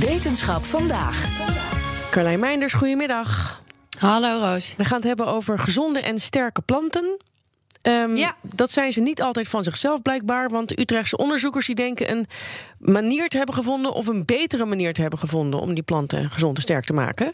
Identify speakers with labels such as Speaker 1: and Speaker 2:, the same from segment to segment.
Speaker 1: Wetenschap vandaag.
Speaker 2: Carlijn Meinders, goedemiddag.
Speaker 3: Hallo Roos.
Speaker 2: We gaan het hebben over gezonde en sterke planten. Ehm,
Speaker 3: Ja.
Speaker 2: Dat zijn ze niet altijd van zichzelf blijkbaar, want de Utrechtse onderzoekers die denken een manier te hebben gevonden of een betere manier te hebben gevonden om die planten gezond en sterk te maken.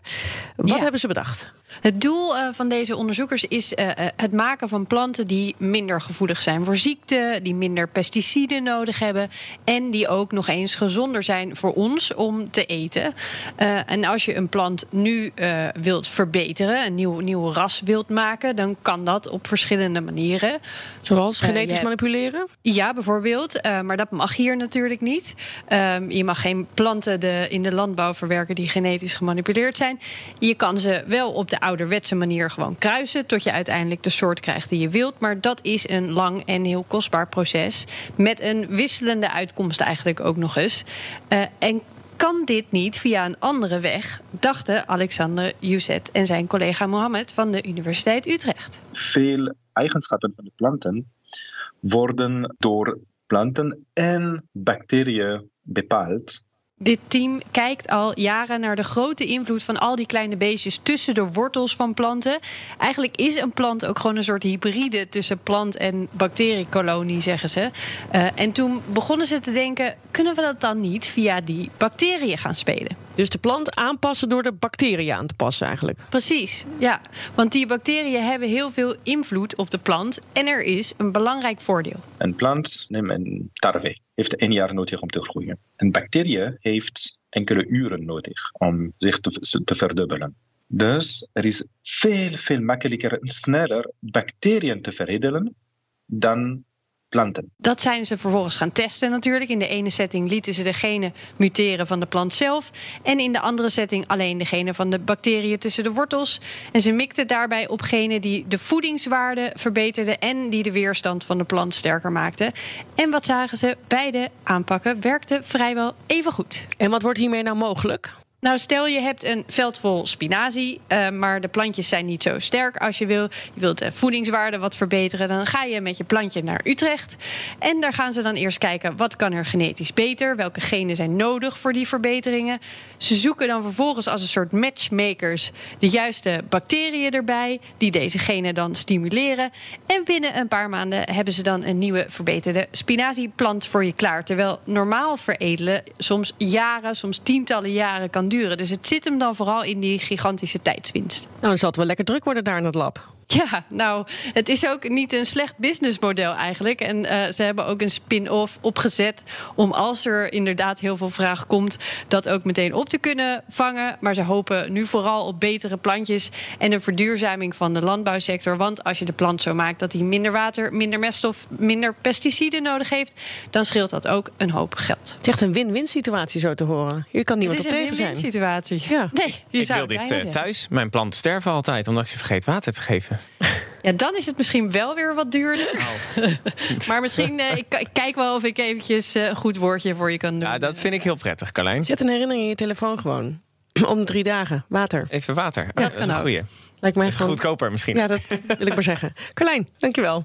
Speaker 2: Wat
Speaker 4: Ja.
Speaker 2: hebben ze bedacht?
Speaker 4: Het doel eh, van deze onderzoekers is eh, eh, het maken van planten die eh, minder gevoelig zijn voor ziekte, die minder pesticiden nodig hebben en die ook nog eens gezonder zijn voor ons om te eten. Eh, en als je een plant nu eh, wilt verbeteren, een nieuw, nieuw ras wilt maken, dan kan dat op verschillende manieren.
Speaker 2: Zoals
Speaker 4: Eh,
Speaker 2: genetisch
Speaker 4: je-
Speaker 2: manipuleren?
Speaker 4: Ja, bijvoorbeeld. Eh, maar dat mag hier natuurlijk niet. Ehm, je mag geen planten de, in de landbouw verwerken die genetisch gemanipuleerd zijn. Je kan ze wel op de ouderwetse manier gewoon kruisen. Tot je uiteindelijk de soort krijgt die je wilt. Maar dat is een lang en heel kostbaar proces. Met een wisselende uitkomst eigenlijk ook nog eens. Eh, en kan dit niet via een andere weg, dachten Alexander Yusset en zijn collega Mohammed van de Universiteit Utrecht.
Speaker 5: veel eigenschappen van de planten worden door planten en bacteriën bepaald.
Speaker 4: Dit team kijkt al jaren naar de grote invloed van al die kleine beestjes tussen de wortels van planten. Eigenlijk is een plant ook gewoon een soort hybride tussen plant en bacteriekolonie, zeggen ze. Eh, en toen begonnen ze te denken: kunnen we dat dan niet via die bacteriën gaan spelen?
Speaker 2: Dus de plant aanpassen door de bacteriën aan te passen eigenlijk.
Speaker 4: Precies, ja. Want die bacteriën hebben heel veel invloed op de plant. En er is een belangrijk voordeel.
Speaker 5: Een plant, neem een tarwe, heeft één jaar nodig om te groeien. Een bacterie heeft enkele uren nodig om zich te, te verdubbelen. Dus er is veel, veel makkelijker en sneller bacteriën te verijdelen dan planten.
Speaker 4: Dat zijn ze vervolgens gaan testen natuurlijk. In de ene setting lieten ze de genen muteren van de plant zelf. En in de andere setting alleen de genen van de bacteriën tussen de wortels. En ze mikten daarbij op genen die de voedingswaarde verbeterden... en die de weerstand van de plant sterker maakten. En wat zagen ze? Beide aanpakken werkten vrijwel even goed.
Speaker 2: En wat wordt hiermee nou mogelijk?
Speaker 4: Nou, stel je hebt een veld vol spinazie, eh, maar de plantjes zijn niet zo sterk als je wil. Je wilt de voedingswaarde wat verbeteren, dan ga je met je plantje naar Utrecht. En daar gaan ze dan eerst kijken, wat kan er genetisch beter? Welke genen zijn nodig voor die verbeteringen? Ze zoeken dan vervolgens als een soort matchmakers de juiste bacteriën erbij... die deze genen dan stimuleren. En binnen een paar maanden hebben ze dan een nieuwe verbeterde spinazieplant voor je klaar. Terwijl normaal veredelen soms jaren, soms tientallen jaren kan duren. Dus het zit hem dan vooral in die gigantische tijdswinst.
Speaker 2: Nou, dan zal het wel lekker druk worden daar in het lab.
Speaker 4: Ja, nou, het is ook niet een slecht businessmodel eigenlijk. En eh, ze hebben ook een spin-off opgezet om als er inderdaad heel veel vraag komt, dat ook meteen op te kunnen vangen. Maar ze hopen nu vooral op betere plantjes en een verduurzaming van de landbouwsector. Want als je de plant zo maakt dat hij minder water, minder meststof, minder pesticiden nodig heeft, dan scheelt dat ook een hoop geld.
Speaker 2: Het is echt een win-win situatie zo te horen. Hier kan niemand
Speaker 4: het
Speaker 2: op
Speaker 4: is een
Speaker 2: tegen zijn.
Speaker 4: win-win situatie.
Speaker 2: Ja.
Speaker 4: Nee, je
Speaker 6: Ik
Speaker 4: zou
Speaker 6: wil dit
Speaker 4: het bijna
Speaker 6: eh,
Speaker 4: zeggen.
Speaker 6: thuis. Mijn planten sterven altijd omdat ik ze vergeet water te geven.
Speaker 4: Ja, dan is het misschien wel weer wat duurder.
Speaker 6: Oh.
Speaker 4: maar misschien, eh, ik, ik kijk wel of ik eventjes eh, een goed woordje voor je kan doen.
Speaker 6: Ja, dat vind ik heel prettig, Carlijn.
Speaker 2: Zet een herinnering in je telefoon gewoon. Om drie dagen. Water.
Speaker 6: Even water. Oh, dat is
Speaker 4: kan
Speaker 6: een
Speaker 4: ook.
Speaker 6: goeie.
Speaker 2: Lijkt mij
Speaker 6: Dat is
Speaker 2: gewoon...
Speaker 6: goedkoper misschien.
Speaker 2: Ja, dat wil ik maar zeggen. Carlijn, dankjewel.